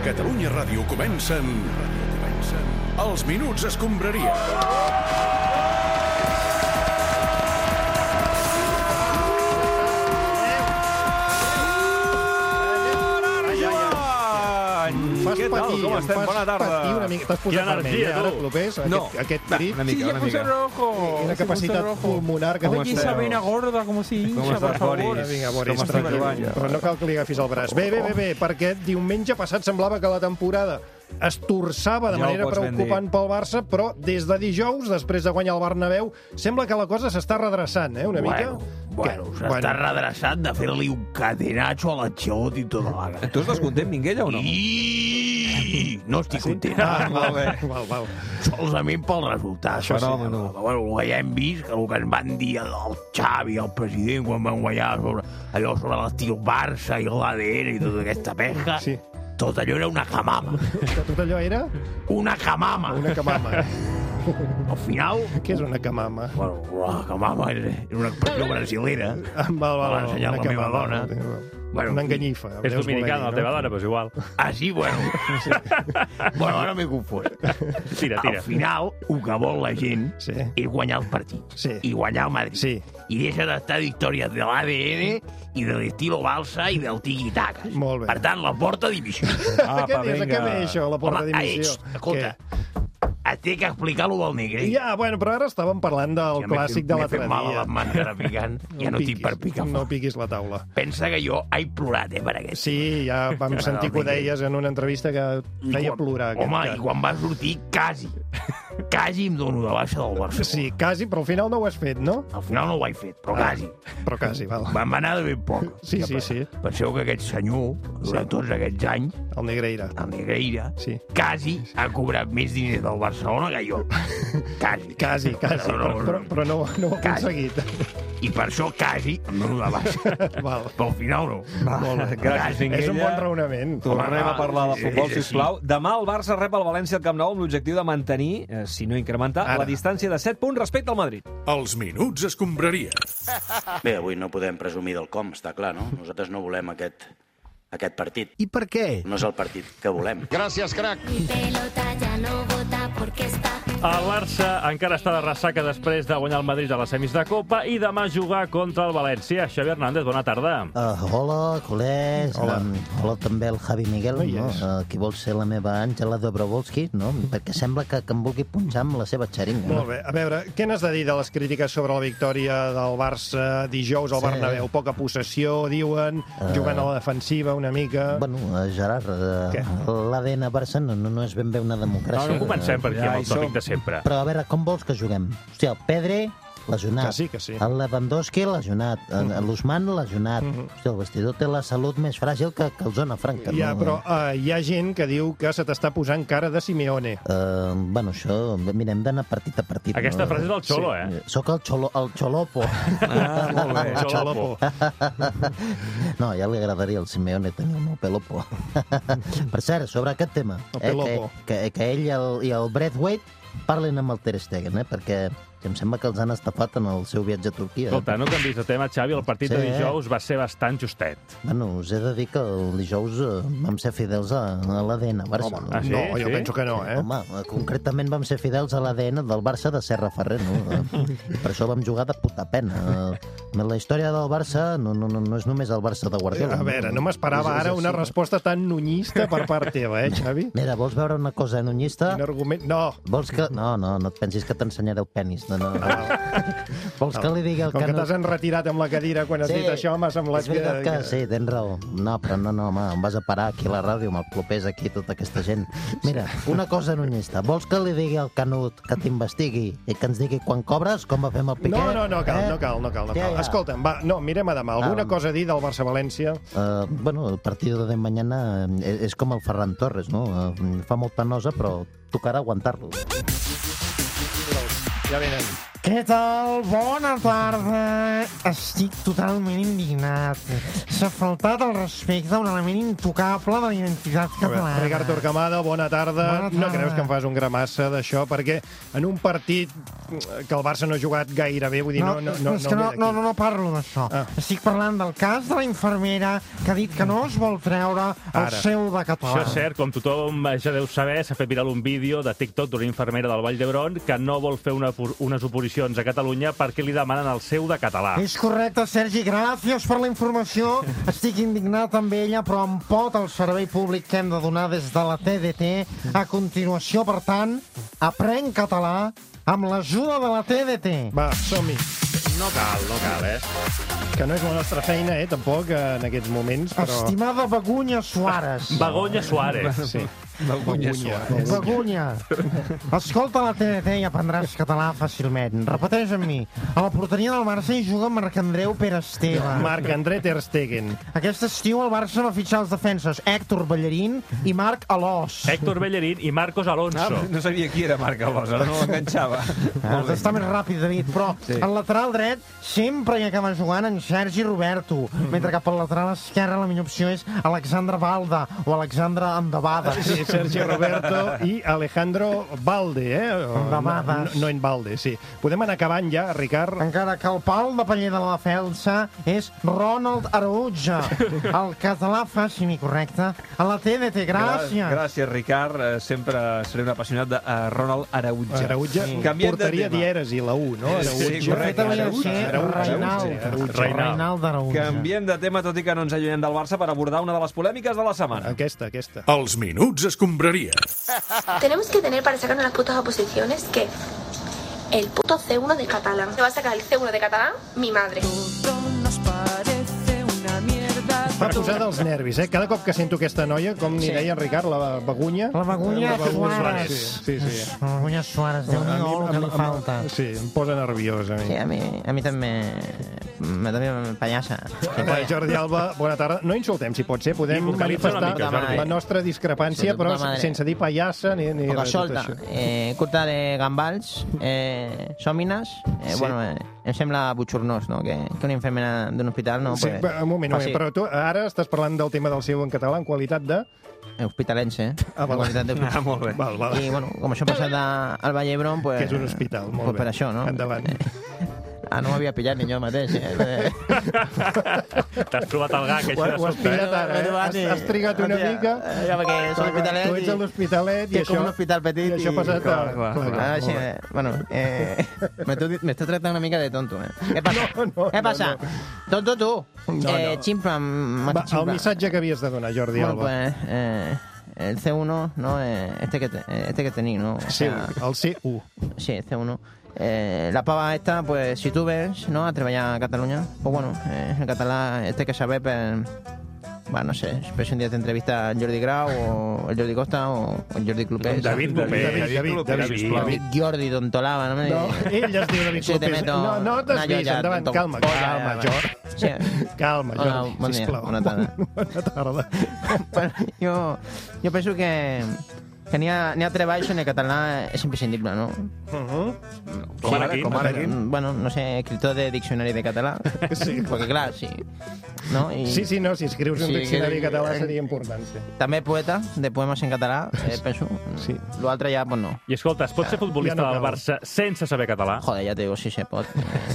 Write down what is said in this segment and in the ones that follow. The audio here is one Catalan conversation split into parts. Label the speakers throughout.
Speaker 1: Catalunya Ràdio comencen... comencen... Els Minuts Escombraria.
Speaker 2: Fas
Speaker 3: Què tal?
Speaker 2: patir,
Speaker 3: Com
Speaker 2: em
Speaker 3: estem?
Speaker 2: fas
Speaker 3: Bona tarda.
Speaker 2: Patir una mica. T'has posat
Speaker 3: Quina
Speaker 2: vermell,
Speaker 3: energia,
Speaker 2: eh, ara,
Speaker 3: tu.
Speaker 2: Clopés,
Speaker 4: No.
Speaker 2: aquest, aquest crit
Speaker 4: una mica,
Speaker 5: Sí, ya
Speaker 4: una
Speaker 5: puse
Speaker 4: mica.
Speaker 5: rojo.
Speaker 2: i la
Speaker 5: Se puso
Speaker 2: capacitat
Speaker 5: rojo.
Speaker 2: pulmonar que
Speaker 5: Oye, esa vena gorda, como si hincha, por favor.
Speaker 2: Ara, vinga,
Speaker 3: Com
Speaker 2: Boris,
Speaker 3: estàs,
Speaker 2: tranquil.
Speaker 3: Joan?
Speaker 2: Però no cal que li agafis el braç. Bé, bé, bé, bé, perquè diumenge passat semblava que la temporada es torçava de
Speaker 3: Ja ho
Speaker 2: manera
Speaker 3: pots ben
Speaker 2: preocupant pel Barça, però des de dijous, després de guanyar el Bernabéu, sembla que la cosa s'està redreçant, eh, una mica.
Speaker 6: Bueno,
Speaker 2: Que-
Speaker 6: s'està bueno. redreçant de fer-li un catenatxo a la xot i tota la gana.
Speaker 4: Tu estàs content, Minguella, o no?
Speaker 6: I... No estic content,
Speaker 2: Ah,
Speaker 6: ah,
Speaker 2: val, val, val.
Speaker 6: solament pel resultat.
Speaker 4: Això sí.
Speaker 6: Però, Bueno, el que ja hem vist, que el que ens van dir el Xavi, el president, quan van guanyar sobre, allò sobre l'estil Barça i l'ADN i tota aquesta pesca,
Speaker 2: Sí.
Speaker 6: tot allò era una camama.
Speaker 2: Que tot allò era
Speaker 6: Una camama.
Speaker 2: una camama.
Speaker 6: Al final,
Speaker 2: Què és una camama?
Speaker 6: bueno, la camama és, és una expressió brasilera.
Speaker 2: Ah, Val,
Speaker 6: Me l'ha
Speaker 2: val, val,
Speaker 6: ensenyat
Speaker 2: una
Speaker 6: la meva
Speaker 2: camama,
Speaker 6: dona.
Speaker 2: val.
Speaker 6: Bueno,
Speaker 2: una enganyifa.
Speaker 3: És
Speaker 2: deus voler
Speaker 3: dominicana,
Speaker 2: dir,
Speaker 3: la teva dona, però és igual.
Speaker 6: Ah, sí, bueno. bueno, ara m'he confós.
Speaker 3: Tira,
Speaker 6: Al
Speaker 3: tira.
Speaker 6: final, el que vol la gent
Speaker 2: Sí.
Speaker 6: és guanyar el partit.
Speaker 2: Sí.
Speaker 6: I guanyar el Madrid.
Speaker 2: Sí.
Speaker 6: I deixa d'estar d'històries de l'ADN i de l'estilo balsa i del tiki-taka.
Speaker 2: Molt bé.
Speaker 6: Per tant, la porta divisió.
Speaker 2: Ah, Què dius? A què ve això, la porta
Speaker 6: Home,
Speaker 2: dimissió?
Speaker 6: ets, escolta, et té que explicar lo del negre. eh?
Speaker 2: Què? Ja, bueno, però ara estàvem parlant del
Speaker 6: Ja m'he
Speaker 2: clàssic
Speaker 6: fet-
Speaker 2: de l'altre
Speaker 6: M'he fet mal a
Speaker 2: dia.
Speaker 6: la màscara picant. Ja no tinc per picar
Speaker 2: No
Speaker 6: fort.
Speaker 2: piquis la taula.
Speaker 6: Pensa que jo he plorat, eh, per aquest.
Speaker 2: Sí, ja vam
Speaker 6: M'agrada
Speaker 2: sentir que ho
Speaker 6: el Miguel.
Speaker 2: deies en una entrevista que
Speaker 6: I
Speaker 2: feia
Speaker 6: quan-
Speaker 2: plorar. aquest
Speaker 6: Home,
Speaker 2: cas.
Speaker 6: i quan va sortir, quasi. quasi em dono de baixa del Barcelona.
Speaker 2: Sí, quasi, però al final no ho has fet, no?
Speaker 6: Al final no ho he fet, però quasi.
Speaker 2: Però quasi, val.
Speaker 6: Vam anar de ben poc.
Speaker 2: Ah. Sí, sí, sí,
Speaker 6: Penseu que aquest senyor, durant tots aquests anys,
Speaker 2: el Negreira.
Speaker 6: el Negreira,
Speaker 2: Sí.
Speaker 6: quasi ha cobrat més diners del Barcelona que jo. Quasi.
Speaker 2: Quasi, quasi,
Speaker 6: No, no,
Speaker 2: però,
Speaker 6: no.
Speaker 2: però, però no, no ho ha
Speaker 6: Quasi.
Speaker 2: aconseguit.
Speaker 6: I per això quasi em dono de baixa.
Speaker 2: Val.
Speaker 6: Però al final no.
Speaker 4: Molt bé, gràcies, Minguella.
Speaker 2: És un bon raonament.
Speaker 4: Tornem
Speaker 6: Home,
Speaker 4: a parlar de
Speaker 6: sí,
Speaker 4: futbol,
Speaker 6: sí, sí.
Speaker 4: sisplau. Demà el Barça rep el València al Camp Nou amb l'objectiu de mantenir, eh, si no incrementar,
Speaker 2: Ara.
Speaker 4: la distància de 7 punts respecte al Madrid.
Speaker 1: Els Minuts Escombraria.
Speaker 7: Bé, avui no podem presumir del com, està clar, no? Nosaltres no volem aquest, aquest partit.
Speaker 5: I per què?
Speaker 7: No és el partit que volem.
Speaker 8: Mi pelota ya no vota porque está
Speaker 3: El Barça encara està de ressaca després de guanyar el Madrid a les semis de Copa i demà jugar contra el València. Xavi Hernández, bona tarda.
Speaker 9: Uh, hola, col·legs. Hola. Um, hola també el Javi Miguel,
Speaker 2: No
Speaker 9: no
Speaker 2: hi és.
Speaker 9: Uh, qui vol ser la meva Àngela Dobrovolski, no? Perquè sembla que, que em vulgui punxar amb la seva xeringa.
Speaker 2: Molt bé. A veure, què n'has de dir de les crítiques sobre la victòria del Barça dijous al
Speaker 9: Sí.
Speaker 2: Bernabéu? Poca possessió, diuen, jugant a la defensiva una mica...
Speaker 9: Bueno, uh, Gerard,
Speaker 2: Què?
Speaker 9: uh, l'ADN a Barça no, no, no és ben bé una
Speaker 3: No,
Speaker 9: democràcia. Eh,
Speaker 3: no comencem per aquí
Speaker 4: Ja
Speaker 3: amb el
Speaker 4: hi
Speaker 3: tòpic
Speaker 4: som.
Speaker 3: de sempre.
Speaker 9: Però a veure, com vols que juguem? Hòstia, el Pedri, lesionat.
Speaker 2: Que sí, que sí.
Speaker 9: El Lewandowski, lesionat. Mm -hmm. L'Usman, lesionat. Mm
Speaker 2: Mm-hmm.
Speaker 9: -hmm. Hòstia, el vestidor té la salut més fràgil que, que el Zona Franca.
Speaker 2: Ja,
Speaker 9: no?
Speaker 2: però uh, hi ha gent que diu que se t'està posant cara de Simeone.
Speaker 9: Uh, bueno, això, mira, hem d'anar partit a partit.
Speaker 3: Aquesta
Speaker 9: no?
Speaker 3: frase és del Xolo, eh?
Speaker 9: Sóc el, xolo, el xolopo.
Speaker 4: Ah, molt bé.
Speaker 2: El xalopo.
Speaker 9: Ah, No, ja li agradaria al Simeone tenir el meu pelopo. per cert, sobre aquest tema, eh,
Speaker 2: El
Speaker 9: que,
Speaker 2: pelopo.
Speaker 9: que, que ell i el, i el Breathwaite parlen amb el Ter Stegen, eh? perquè em sembla que els han estafat en el seu viatge a Turquia. eh.
Speaker 3: Escolta, no canvis de tema, Xavi. El partit de
Speaker 9: Sí.
Speaker 3: dijous va ser bastant justet.
Speaker 9: Bueno, us he de dir que el dijous eh, vam ser fidels a, a l'ADN Barça.
Speaker 2: Home,
Speaker 9: no?
Speaker 3: Ah, sí?
Speaker 2: no, jo
Speaker 3: Sí?
Speaker 2: penso que no, eh?
Speaker 9: Home, eh, concretament vam ser fidels a l'ADN del Barça de Serra Ferrer, no? Eh, Per això vam jugar de puta pena. Eh, La història del Barça no, no, no, no és només el Barça de Guardiola.
Speaker 2: A veure, no m'esperava
Speaker 9: És- és
Speaker 2: ara una
Speaker 9: així.
Speaker 2: resposta tan nunyista per part teva, eh, Xavi?
Speaker 9: Mira, vols veure una cosa nunyista?
Speaker 2: Quin argument... No,
Speaker 9: Vols que... No, no, no et pensis que t'ensenyaré el penis. No, no, no. Vols que li digui el
Speaker 2: Ah. com
Speaker 9: que
Speaker 2: que
Speaker 9: no...
Speaker 2: t'has enretirat amb la cadira quan has dit això, m'ha semblat
Speaker 9: és veritat que...
Speaker 2: que...
Speaker 9: Sí, tens raó. No, però no, no, home, em vas a parar aquí a la ràdio amb el clopés aquí, tota aquesta gent. Mira, una cosa nunyista. Vols que li digui al Canut que t'investigui i que ens digui quan cobres, com va fer amb el Piqué?
Speaker 2: No, no, no cal, no cal, no cal. No
Speaker 9: Eh? Ja,
Speaker 2: cal.
Speaker 9: ja.
Speaker 2: Escolta'm, va, no, mirem a demà. Alguna
Speaker 9: Ah.
Speaker 2: cosa a dir del Barça-València?
Speaker 9: Uh, bueno, el partit de mañana eh, és com el Ferran Torres, no? Eh, Uh, fa molta nosa, però tocarà aguantar-lo.
Speaker 2: Ja venen.
Speaker 10: Què tal? Bona tarda. Estic totalment indignat. S'ha faltat el respecte a un element intocable de la identitat catalana.
Speaker 2: Ricard Torquemada, bona tarda.
Speaker 10: Bona tarda.
Speaker 2: No creus que em fas un gramassa d'això? Perquè en un partit que el Barça no ha jugat gaire bé, vull dir, no, no, no,
Speaker 10: és que no,
Speaker 2: ve
Speaker 10: no,
Speaker 2: d'aquí.
Speaker 10: no, no parlo d'això.
Speaker 2: Ah.
Speaker 10: Estic parlant del cas de la infermera que ha dit que no es vol treure el
Speaker 6: Ara.
Speaker 10: seu de
Speaker 6: Això
Speaker 10: català.
Speaker 2: Ah.
Speaker 6: és cert, com tothom ja deu saber, s'ha fet viral un vídeo de TikTok d'una infermera del Vall d'Hebron que no vol fer una, por- unes oposicions a Catalunya perquè li demanen el seu de català.
Speaker 10: És correcte, Sergi, gràcies per la informació. Estic indignat amb ella, però em pot el servei públic que hem de donar des de la TDT. A continuació, per tant, aprèn català amb l'ajuda de la TDT.
Speaker 2: Va, som-hi.
Speaker 6: No cal, no cal, eh?
Speaker 2: Que no és la nostra feina, eh, tampoc, eh, en aquests moments, però...
Speaker 10: Estimada Begunya Suárez.
Speaker 6: Begoña Suárez.
Speaker 2: Sí.
Speaker 4: Begoña Suárez.
Speaker 10: Begunya, escolta la TDT i aprendràs català fàcilment. Repeteix amb mi. A la porteria del Barça hi juga Marc Andreu Pere Esteve.
Speaker 2: Marc André Ter Stegen.
Speaker 10: Aquest estiu el Barça va fitxar els defenses Héctor Ballarín i Marc Alós.
Speaker 6: Héctor Bellerín i Marcos
Speaker 4: Ah,
Speaker 6: Alonso.
Speaker 4: no sabia qui era Marc Alòs, ara no l'enganxava.
Speaker 10: Ah, està més ràpid, David, però sí. el lateral dret sempre hi acaba jugant en Sergi Roberto, mentre que pel lateral esquerre la millor opció és Alexandre Balda o Alexandre Endavada.
Speaker 2: Sí, Sergi Roberto i Alejandro Balde, eh? O- No, no,
Speaker 10: Endavades.
Speaker 2: no en Balde, sí. Podem anar acabant ja, Ricard?
Speaker 10: Encara que el pal de paller de la defensa és Ronald Arauja. El català fàcil i correcte. A la TDT, gràcies.
Speaker 4: Gra- Gràcies, Ricard. Eh, Sempre seré un apassionat de eh, Ronald Araúja.
Speaker 2: Arautja
Speaker 4: Sí. Canviem de
Speaker 2: portaria
Speaker 4: tema.
Speaker 2: dieres i la U, no?
Speaker 4: Sí,
Speaker 10: De fet,
Speaker 4: correcte.
Speaker 10: hauria de
Speaker 4: Araujo,
Speaker 10: ser
Speaker 4: Araujo,
Speaker 10: Reinald.
Speaker 4: Araujo.
Speaker 10: Reinald Arauja.
Speaker 4: Canviem de tema, tot i que no ens allunyem del Barça, per abordar una de les polèmiques de la setmana.
Speaker 2: Aquesta, aquesta.
Speaker 10: Oh.
Speaker 1: Els minuts escombraria.
Speaker 8: Ah. Tenemos que tener para sacar unas putas oposiciones que el puto C1 de catalán. Se va a sacar el C1 de catalán mi madre.
Speaker 2: Fa posar dels nervis, eh? Cada cop que sento aquesta noia, com ni deia en Ricard, la Begunya...
Speaker 10: La Begunya Suárez.
Speaker 2: Sí, sí. sí.
Speaker 10: La Begunya Suárez, déu-n'hi-do el que li falta.
Speaker 2: Sí, em posa nerviós, a mi.
Speaker 11: Sí, a mi, a mi també... Me també pallassa.
Speaker 2: Eh, Jordi Alba, bona tarda. No insultem, si pot ser. Podem
Speaker 6: I vocalitza una
Speaker 2: manifestar
Speaker 6: mica, Jordi.
Speaker 2: la nostra discrepància,
Speaker 11: Sí,
Speaker 2: però
Speaker 11: puta madre.
Speaker 2: sense dir pallassa ni, ni
Speaker 11: Poca
Speaker 2: res de tot
Speaker 11: solta,
Speaker 2: això.
Speaker 11: eh, curta de gambals, eh, sòmines... Eh,
Speaker 2: Sí.
Speaker 11: bueno, eh, em sembla butxornós, no?, que, que una infermera d'un hospital no...
Speaker 2: Sí,
Speaker 11: pues,
Speaker 2: va, un moment, un moment.
Speaker 11: faci-
Speaker 2: Però tu ara estàs parlant del tema del seu en català en qualitat de...
Speaker 11: eh, Hospitalense, eh?
Speaker 2: Ah,
Speaker 11: Ah,
Speaker 2: val.
Speaker 11: de...
Speaker 4: Ah, molt bé.
Speaker 2: Val, val.
Speaker 11: I, bueno, com això ha passat a, al Vall d'Hebron, pues,
Speaker 2: Que és un hospital, molt
Speaker 11: pues
Speaker 2: bé.
Speaker 11: per això, no?
Speaker 2: Endavant.
Speaker 11: Ah, no m'havia pillat ni jo mateix, eh?
Speaker 6: T'has trobat el gag,
Speaker 2: Ho,
Speaker 6: això
Speaker 2: ho
Speaker 6: de
Speaker 2: has
Speaker 6: sobte, eh?
Speaker 2: pillat ara, eh? Has, has trigat una
Speaker 11: Hòstia,
Speaker 2: mica...
Speaker 11: eh, Ja, perquè
Speaker 2: Clar, clar,
Speaker 11: som hospitalet
Speaker 2: Tu ets a
Speaker 11: i-
Speaker 2: l'hospitalet i
Speaker 11: que és com
Speaker 2: això...
Speaker 11: un hospital petit
Speaker 2: I això ha
Speaker 11: i-
Speaker 2: passat... a-
Speaker 11: Clar, clar,
Speaker 2: clar,
Speaker 11: Ara
Speaker 2: molt
Speaker 11: sí,
Speaker 2: bé.
Speaker 11: eh, bueno, eh, m'està tractant una mica de tonto, eh? Què passa?
Speaker 2: No, no,
Speaker 11: Què
Speaker 2: no,
Speaker 11: passa? Tonto tu! eh,
Speaker 2: no.
Speaker 11: Ximpa, m'ha
Speaker 2: Va, el
Speaker 11: ximpa.
Speaker 2: missatge que havies de donar, Jordi
Speaker 11: Bueno,
Speaker 2: Alba.
Speaker 11: pues, eh, el C1, no, eh, este que, te- eh, este que tenéis, ¿no? O
Speaker 2: Sí,
Speaker 11: sea,
Speaker 2: el C1.
Speaker 11: sí, el C1. Eh, la pava esta, pues, si tú ves, ¿no?, a treballar a Cataluña, pues bueno, eh, el catalán, este que sabe, pues, va, no sé, pues si un día te entrevista el Jordi Grau o el Jordi Costa o el Jordi Clupés.
Speaker 6: David Lopé.
Speaker 2: David, David, David,
Speaker 6: sisplau.
Speaker 2: David.
Speaker 11: Jordi Tontolava, no me
Speaker 2: No, ell es diu David
Speaker 11: Sí, te
Speaker 2: Clopés.
Speaker 11: meto
Speaker 2: No, no t'has
Speaker 11: una
Speaker 2: vist,
Speaker 11: joia,
Speaker 2: endavant.
Speaker 11: tonto.
Speaker 2: Calma,
Speaker 11: Polla,
Speaker 2: calma,
Speaker 11: vale.
Speaker 2: Jordi.
Speaker 11: Sí.
Speaker 2: Calma,
Speaker 11: Hola,
Speaker 2: Jordi,
Speaker 11: bon dia,
Speaker 2: sisplau.
Speaker 11: bona tarda.
Speaker 2: Bona tarda.
Speaker 11: Bueno, jo, jo penso que, que n'hi ha, n'hi ha treballs on el català és imprescindible, no? Mhm.
Speaker 6: Com ara aquí.
Speaker 11: Mm, Bueno, no sé, escritor de diccionari de català.
Speaker 2: Sí.
Speaker 11: Perquè clar, sí. No? I
Speaker 2: Sí, sí, no, si escrius un
Speaker 11: Sí,
Speaker 2: diccionari
Speaker 11: que- eh,
Speaker 2: català seria important, sí.
Speaker 11: També poeta, de poemes en català, eh, penso.
Speaker 2: Sí.
Speaker 11: L'altre ja, pues no.
Speaker 6: I escolta, es pot ser futbolista
Speaker 2: Ja no
Speaker 6: del
Speaker 2: cal.
Speaker 6: Barça sense saber català?
Speaker 11: Joder, ja te digo, sí se pot.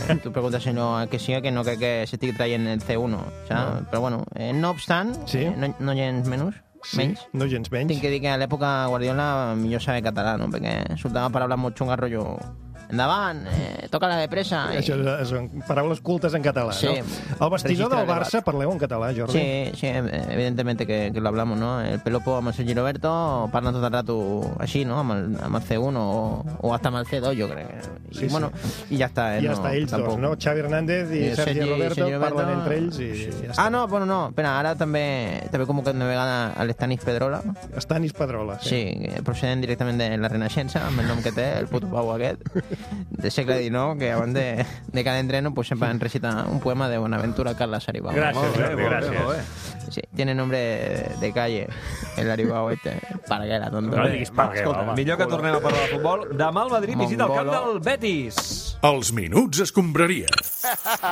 Speaker 11: Eh, tu preguntes si no a que siga, que no crec que s'estigui traient el C1. saps? Però bueno, eh, no obstant,
Speaker 2: Sí.
Speaker 11: eh, no, no gens menys,
Speaker 2: Sí,
Speaker 11: menys.
Speaker 2: no gens
Speaker 11: Tinc
Speaker 2: menys.
Speaker 11: que dir que a l'època Guardiola millor saber català, no? Perquè soltava paraules molt xungues, rotllo... Endavant, eh, toca la de pressa. I...
Speaker 2: Això és- són paraules cultes en català,
Speaker 11: Sí.
Speaker 2: no? Al vestidor
Speaker 11: Registre
Speaker 2: del
Speaker 11: elevat.
Speaker 2: Barça parleu en català, Jordi?
Speaker 11: Sí, sí, eh, evidentemente que, que lo hablamos, ¿no? El pues, Pelopo amb el Sergi Roberto parlen tot el rato així, no? Amb el, amb el C1 o, o hasta amb el C2, jo crec. I,
Speaker 2: Sí, sí.
Speaker 11: bueno, i ja està, eh?
Speaker 2: I ja està, ells
Speaker 11: tampoc.
Speaker 2: dos, no? Xavi Hernández i
Speaker 11: Eh,
Speaker 2: Sergi
Speaker 11: Sergi-
Speaker 2: Roberto
Speaker 11: Sergi Roberto-
Speaker 2: parlen entre ells i ja està.
Speaker 11: Ah, no, bueno, no, espera, ara també, també com que una vegada a l'Estanis Pedrola,
Speaker 2: Estanis Pedrola.
Speaker 11: sí, que procedent directament de la Renaixença, amb el nom que té, el puto pau aquest, de segle XIX, que abans de, de cada entreno pues, sempre han recitat un poema de Bonaventura Carles Aribau.
Speaker 6: Gràcies, Jordi, gràcies.
Speaker 11: Sí, tiene nombre de, de calle, el Aribau este, Parguera, tonto.
Speaker 6: No diguis per què,
Speaker 4: Escolta,
Speaker 6: home.
Speaker 4: millor que tornem a parlar de futbol. Demà el Madrid visita el camp
Speaker 11: Mongolo.
Speaker 4: del Betis.
Speaker 1: Els minuts escombraria.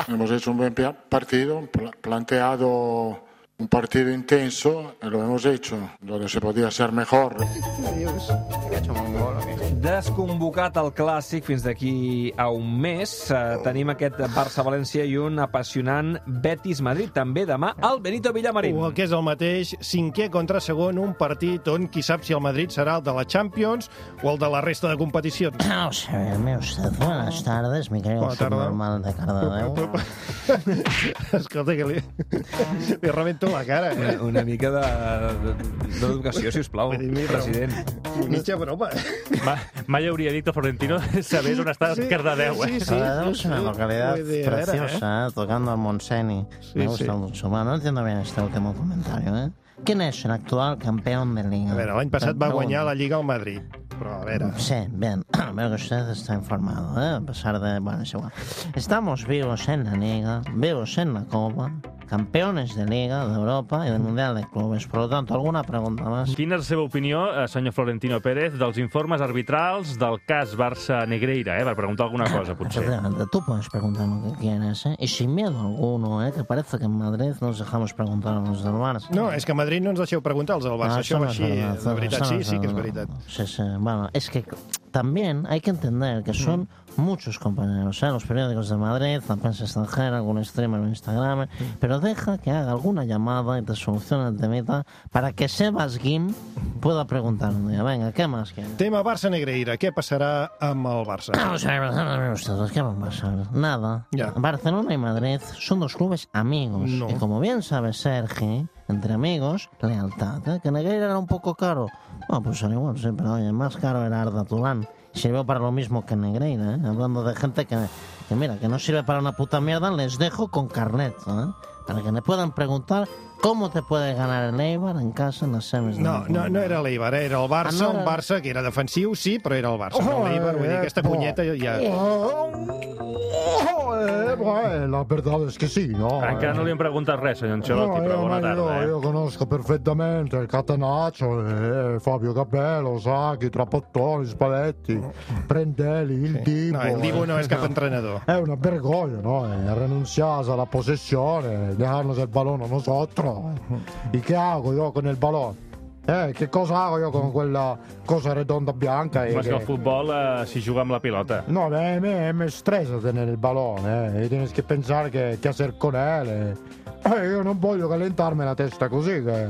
Speaker 7: Hemos hecho un buen pia- partido, pla- planteado un partido intenso, y lo hemos hecho, donde se podía ser mejor.
Speaker 4: Desconvocat el clàssic fins d'aquí a un mes. Eh, tenim aquest Barça-València i un apassionant Betis-Madrid. També demà el Benito Villamarín.
Speaker 2: O el que és el mateix, cinquè contra segon, un partit on qui sap si el Madrid serà el de la Champions o el de la resta de competicions.
Speaker 11: Vamos a ver, me usted. Buenas tardes, mi querido
Speaker 2: Ah. Bona tarda.
Speaker 11: subnormal de Cardedeu.
Speaker 2: Escolta, que li, li rebento la cara. eh?
Speaker 4: Una, una mica de- de- d'educació, de, sisplau, president.
Speaker 2: Mitja broma.
Speaker 6: Ma, mai hauria dit a Florentino saber on està
Speaker 2: Sí,
Speaker 6: Cardedeu, eh?
Speaker 2: sí,
Speaker 11: Cardedeu es una localidad
Speaker 6: Muy de Herrera,
Speaker 11: preciosa, ¿eh? tocando al Montseny. Me gusta
Speaker 2: sí.
Speaker 11: mucho. Bueno, no entiendo bien este último comentario, ¿eh? ¿Quién es el actual campeón de liga?
Speaker 2: eh? A veure, l'any passat va guanyar la Lliga al Madrid. Però, a veure...
Speaker 11: Sí, bien. Veo que usted está informado, ¿eh? A pesar de... Bueno, es igual. Estamos vivos en la Liga, vivos en la Copa, campeones de Liga, de Europa y del Mundial de Clubes. Por lo tanto, ¿alguna pregunta más?
Speaker 6: Quina és la seva opinió, eh, senyor Florentino Pérez, dels informes arbitrals del cas Barça-Negreira, eh? Per preguntar alguna cosa, potser.
Speaker 11: Exactamente, tú puedes preguntar lo que quieras, ¿eh? Y sin miedo alguno, ¿eh? Que parece que en Madrid nos dejamos preguntar a los del Barça. Ah,
Speaker 2: No, és que a Madrid no ens deixeu preguntar els del Barça. això va així, de veritat. Sí, sí que és veritat.
Speaker 11: Sí, sí. Bueno, es que también hay que entender
Speaker 2: Mm.
Speaker 11: que son muchos compañeros, ¿eh? los periódicos de Madrid, la prensa extranjera, algún streamer en Instagram, eh?
Speaker 2: Mm.
Speaker 11: pero deja que haga alguna llamada y te solucione el temita para que Sebas Guim pueda preguntar un día. Venga, ¿qué más quieres?
Speaker 2: Tema Barça-Negreira. Què passarà amb el Barça?
Speaker 11: Vamos a ver, vamos a ver ustedes, ¿qué va a pasar? Nada.
Speaker 2: Ya.
Speaker 11: Barcelona y Madrid son dos clubes amigos.
Speaker 2: No.
Speaker 11: Y como bien sabe Sergi, entre amigos, lealtad. ¿eh? Que Negreira era un poco caro. Bueno, pues al igual, sí, pero oye, más caro era Arda Tulán. Sirvió para lo mismo que Negreira, ¿eh? Hablando de gente que, que, mira, que no sirve para una puta mierda, les dejo con carnet, ¿eh? Para que me puedan preguntar cómo te puede ganar el Eibar en casa en las semis. de la
Speaker 2: No, no, no era l'Eibar, eh? era el Barça,
Speaker 11: Ah, no
Speaker 2: un
Speaker 11: era-
Speaker 2: Barça que era defensiu, sí, però era el Barça,
Speaker 9: Oh,
Speaker 2: no l'Eibar, vull dir, aquesta punyeta ja...
Speaker 9: Eh, bueno, la verdad es que sí, ¿no?
Speaker 6: Encara no li hem preguntat res, senyor Ancelotti, però
Speaker 9: eh,
Speaker 6: bona
Speaker 9: ma,
Speaker 6: tarda,
Speaker 9: Io,
Speaker 6: eh?
Speaker 9: io conosco perfettamente il Catenaccio, eh, Fabio Capello, Sacchi, Trapattoni, Spalletti, Prendelli, il Divo.
Speaker 2: No, il Divo no,
Speaker 9: eh.
Speaker 2: è scapantrenador.
Speaker 9: È una vergogna, no? Eh, Rinunciare alla possessione, dejarnos il pallone a nosotros. eh. E che hago io con il pallone? Eh, che cosa hago io con quella cosa redonda
Speaker 2: Pues
Speaker 9: bianca? eh,
Speaker 6: Home, és que
Speaker 9: che-
Speaker 6: el futbol eh, s'hi juga amb la pilota.
Speaker 9: No, me, me, me estresa tener el balón, eh. Y tienes que pensar qué qué hacer con él. eh. Eh, io non voglio calentarmi la testa così, che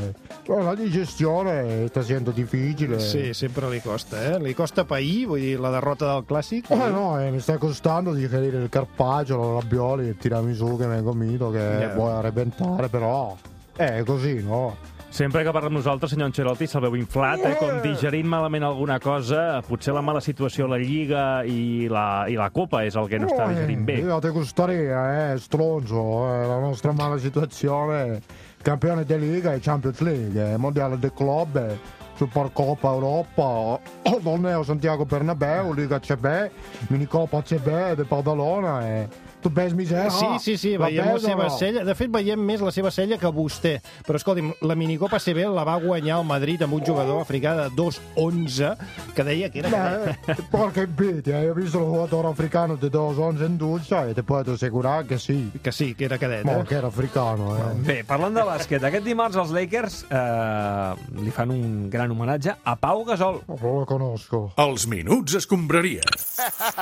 Speaker 9: eh, la digestione sta siendo difficile.
Speaker 2: Sí, sempre li costa, eh? Li costa pair, vull dir, la derrota del Clàssic.
Speaker 9: Eh no, eh, mi sta costando digerire il carpaccio, la rabbioli, il tiramisù che mi hai combinato, che
Speaker 6: Yeah.
Speaker 9: vuoi arrebentare, però... Eh, così, no?
Speaker 6: Sempre que parla amb nosaltres, senyor Ancelotti, se'l veu inflat, eh? com digerint malament alguna cosa. Potser la mala situació a la Lliga i la, i la Copa és el que no està digerint bé.
Speaker 9: Io te gustaría, eh, stronzo, eh, la nostra mala situazione. Campione di Liga e Champions League, eh, Mondiale dei Club, eh, Supercoppa Europa, oh, Torneo Santiago Bernabeu, Liga CB, Minicoppa CB de Padalona. Eh. Tu pensi miseria?
Speaker 2: Sí, sí, sí,
Speaker 9: La
Speaker 2: veiem la
Speaker 9: veus o
Speaker 2: seva
Speaker 9: no?
Speaker 2: cella. De fet, veiem més la seva cella que vostè. Però, escolti'm, la minicopa CB la va guanyar el Madrid amb un jugador africà de 2'11 que deia que era...
Speaker 9: Beh, eh, porca invidia, io ho visto il giocatore africano di 2-11 in duccia e ti puoi assicurare che sì.
Speaker 2: Che sì, che era eh? cadete.
Speaker 9: Ma che era africano, eh.
Speaker 4: Bé, parlant de bàsquet, aquest dimarts els Lakers eh, li fan un gran homenatge a Pau Gasol.
Speaker 9: No lo conozco.
Speaker 1: Els minuts escombraria.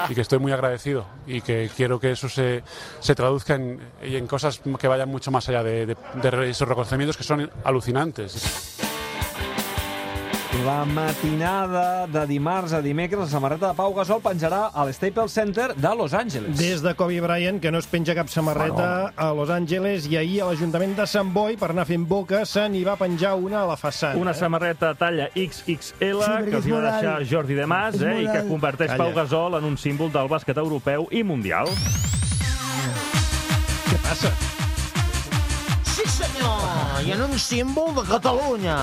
Speaker 12: y que estoy muy agradecido y que quiero que eso se, se traduzca en, y en cosas que vayan mucho más allá de, de- de esos reconocimientos que son alucinantes.
Speaker 4: La matinada de dimarts a dimecres, la samarreta de Pau Gasol penjarà al Staples Center de Los Angeles.
Speaker 2: Des de Kobe Bryant, que no es penja cap samarreta a Los Angeles, i ahir a l'Ajuntament de Sant Boi, per anar fent boca, se n'hi va penjar una a la façana.
Speaker 6: Una samarreta talla XXL
Speaker 2: Sí, perquè
Speaker 6: que
Speaker 2: és
Speaker 6: els hi va
Speaker 2: moral.
Speaker 6: deixar Jordi de Mas
Speaker 2: És
Speaker 6: eh, i que
Speaker 2: moral.
Speaker 6: converteix Pau
Speaker 2: Calla.
Speaker 6: Gasol en un símbol del bàsquet europeu i mundial.
Speaker 2: Què passa?
Speaker 11: Sí, senyor! i en un símbol de Catalunya.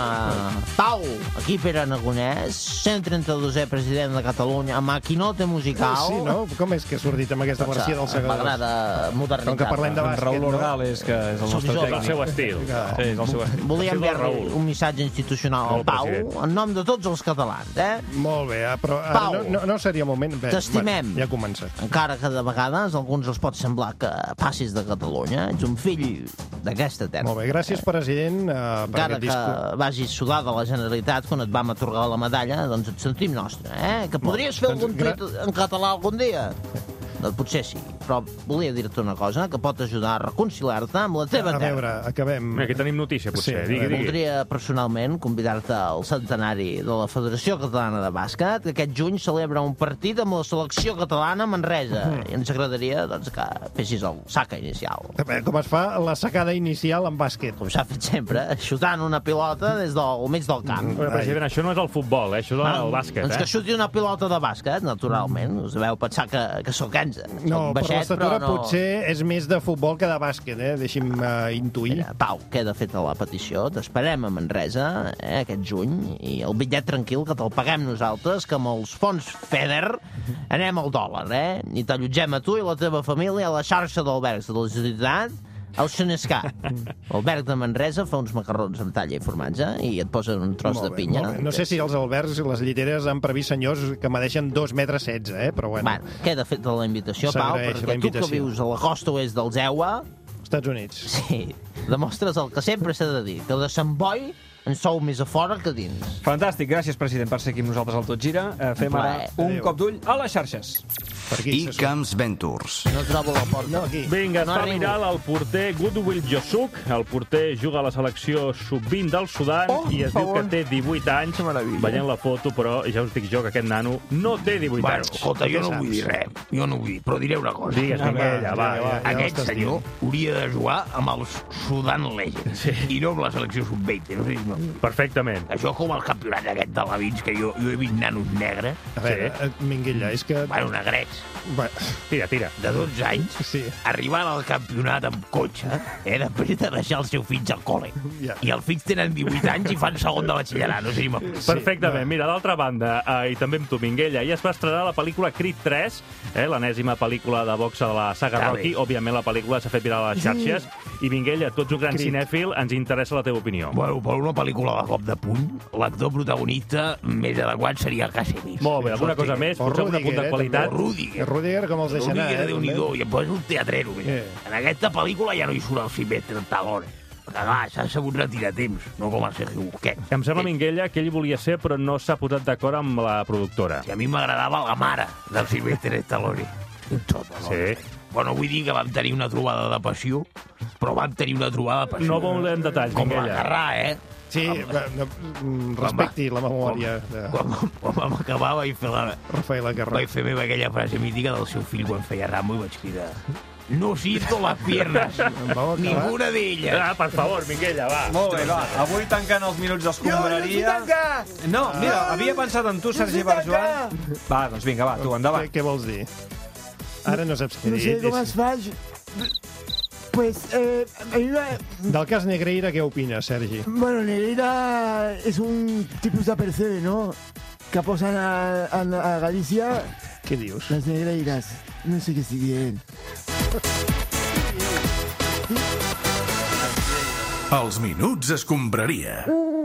Speaker 11: Pau, aquí Pere Aragonès, 132è president de Catalunya, amb maquinota musical.
Speaker 2: Ah, Sí, no? Com és que ha sortit amb aquesta versió del Segadors?
Speaker 11: M'agrada modernitat.
Speaker 2: Com que parlem de bàsquet,
Speaker 13: Raül Ordales, que és el nostre
Speaker 11: Sobisola.
Speaker 13: tècnic.
Speaker 11: El seu estil.
Speaker 13: Sí, és el seu estil.
Speaker 11: Volia
Speaker 13: El seu del
Speaker 11: enviar-li
Speaker 13: Raül.
Speaker 11: un missatge institucional al
Speaker 2: Molt
Speaker 11: Pau,
Speaker 2: president.
Speaker 11: en nom de tots els catalans, eh?
Speaker 2: Molt bé, ah, però ara
Speaker 11: Pau.
Speaker 2: no, no, no seria moment... Bé,
Speaker 11: T'estimem.
Speaker 2: Bueno, ja comença.
Speaker 11: Encara que de vegades a alguns els pot semblar que passis de Catalunya, ets un fill d'aquesta terra.
Speaker 2: Molt bé, gràcies, president, eh, per
Speaker 11: Encara
Speaker 2: aquest
Speaker 11: que
Speaker 2: discurs.
Speaker 11: vagis sudar de la Generalitat quan et vam atorgar la medalla, doncs et sentim nostre, eh? Que podries fer
Speaker 2: Doncs
Speaker 11: algun
Speaker 2: gra-
Speaker 11: tuit en català algun dia? No, potser sí, però volia dir-te una cosa que pot ajudar a reconciliar-te amb la teva
Speaker 2: A
Speaker 11: terra.
Speaker 2: veure, acabem...
Speaker 4: Mira, aquí tenim notícia, potser. Sí, digui, digui.
Speaker 11: Voldria personalment convidar-te al centenari de la Federació Catalana de Bàsquet, que aquest juny celebra un partit amb la selecció catalana a Manresa. I ens agradaria doncs, que fessis el saca inicial.
Speaker 2: A veure, Com es fa la sacada inicial en bàsquet?
Speaker 11: Com s'ha fet sempre, xutant una pilota des del mig del camp.
Speaker 4: Però, president, això no és el futbol, eh? això és
Speaker 6: Ah,
Speaker 4: el bàsquet.
Speaker 11: Doncs
Speaker 4: eh?
Speaker 11: que xuti una pilota de bàsquet, naturalment. Us deveu pensar que, que sóc enza.
Speaker 2: No, per
Speaker 11: Soc baixet,
Speaker 2: l'estatura
Speaker 11: però no...
Speaker 2: potser és més de futbol que de bàsquet, eh? Deixi'm eh, intuir.
Speaker 11: Mira, Pau, queda feta la petició. T'esperem a Manresa eh, aquest juny i el bitllet tranquil que te'l paguem nosaltres, que amb els fons FEDER anem al dòlar, eh? I t'allotgem a tu i la teva família a la xarxa d'albergs de la ciutat al Xenescà. L'alberg de Manresa fa uns macarrons amb talla i formatge i et posen un tros
Speaker 2: Molt
Speaker 11: de
Speaker 2: bé,
Speaker 11: pinya.
Speaker 2: molt bé. No sé si els albergs i les lliteres han previst senyors que medeixen 2 metres 16, eh? però bueno.
Speaker 11: Bueno, queda feta tota la invitació, Pau,
Speaker 2: S'agraeix la
Speaker 11: perquè tu que
Speaker 2: invitació.
Speaker 11: vius a la costa oest del Zewa...
Speaker 2: Estats Units.
Speaker 11: Sí, demostres el que sempre s'ha de dir, que de Sant Boi en sou més a fora que a dins.
Speaker 13: Fantàstic, gràcies, president, per ser aquí amb nosaltres al Tot Gira. Eh, Fem ara
Speaker 11: Plaer.
Speaker 13: un cop d'ull a les xarxes.
Speaker 2: I
Speaker 6: Camps Ventures.
Speaker 11: No trobo la porta. No,
Speaker 2: aquí.
Speaker 4: Vinga, no
Speaker 11: No
Speaker 4: està
Speaker 11: arribo.
Speaker 4: mirant el porter Goodwill Josuk. El porter juga a la selecció sub-20 del Sudan
Speaker 6: Oh,
Speaker 4: i es
Speaker 6: per
Speaker 4: diu que
Speaker 6: favor.
Speaker 4: té 18 anys. Veient la foto, però ja us dic jo que aquest nano no té 18
Speaker 6: Bueno,
Speaker 4: anys.
Speaker 6: escolta, jo no vull dir res, jo no vull dir, però diré una cosa.
Speaker 4: Digues, Miquella, va, ja, ja
Speaker 6: Aquest
Speaker 4: l'estàs
Speaker 6: senyor hauria de jugar amb els Sudan Legends sí. i no amb la selecció sub-20. No sé si no.
Speaker 4: Perfectament.
Speaker 6: Això com el campionat aquest de la Vins, que jo, jo he vist nanos negres.
Speaker 2: A veure, eh, Minguella, és que...
Speaker 6: Bueno, negrets.
Speaker 4: Tira, tira.
Speaker 6: De 12 anys,
Speaker 2: sí.
Speaker 6: arribant al campionat amb cotxe, eh, després de deixar els seus fills al col·le.
Speaker 2: Ja.
Speaker 6: I els fills tenen 18 anys i fan segon de batxillerat, no sé si m'apunto.
Speaker 4: Perfectament. Mira, d'altra banda, eh, i també amb tu, Minguella, ja es va estrenar la pel·lícula Creed 3, eh, l'enèsima pel·lícula de boxa de la saga
Speaker 6: Està
Speaker 4: Rocky.
Speaker 6: bé.
Speaker 4: Òbviament, la pel·lícula s'ha fet viral a les xarxes. I, Minguella, tu ets un gran
Speaker 6: Creed.
Speaker 4: cinèfil, ens interessa la teva opinió.
Speaker 6: Bueno, per una pel·lícula de cop de puny, l'actor protagonista més adequat seria Casemiro.
Speaker 4: Molt bé, alguna cosa més? Potser algun apunt de qualitat?
Speaker 6: Rüdiger.
Speaker 2: Rüdiger, com els deixa anar,
Speaker 6: Rüdiger,
Speaker 2: eh?
Speaker 6: Déu-n'hi-do, i em posa un teatrero. Eh. En aquesta pel·lícula ja no hi surt el Silvestre Stallone. Perquè, clar, s'ha sabut retirar temps, no com el Sergio Busquets.
Speaker 4: Em sembla, Minguella, que ell volia ser, però no s'ha posat d'acord amb la productora.
Speaker 6: I a mi m'agradava la mare del Silvestre Stallone.
Speaker 4: Sí.
Speaker 6: Bueno, vull dir que vam tenir una trobada de passió, però vam tenir una trobada de passió.
Speaker 4: No volem detalls,
Speaker 6: Com la
Speaker 4: Minguella.
Speaker 6: Carrà, eh?
Speaker 2: Sí, va, no, mm, respecti la memòria de
Speaker 6: Quan, quan vam acabar vaig fer la,
Speaker 2: Rafael Aguerra.
Speaker 6: Vaig fer meva aquella frase mítica del seu fill quan feia ramo i vaig cridar No siento las piernas, ninguna d'elles.
Speaker 4: Ah, per favor, Miquella, va.
Speaker 13: Molt bé, va. Avui tancant els minuts d'escombraria. No, mira,
Speaker 6: Ah,
Speaker 13: havia pensat en tu, Sergi Barjoan. Va, doncs vinga, va, tu, endavant.
Speaker 2: Què vols dir? Ara no saps què
Speaker 14: No
Speaker 2: dir.
Speaker 14: sé com es fa. jo- Pues, eh, a mi me-
Speaker 2: Del cas Negreira, què opines, Sergi?
Speaker 14: bueno, Nereida es un tipus de percebe, ¿no? Que posan a, a, a Galicia.
Speaker 2: ¿Qué dios?
Speaker 14: Las Negreiras. No sé qué siguen.
Speaker 1: Els minuts escombraria.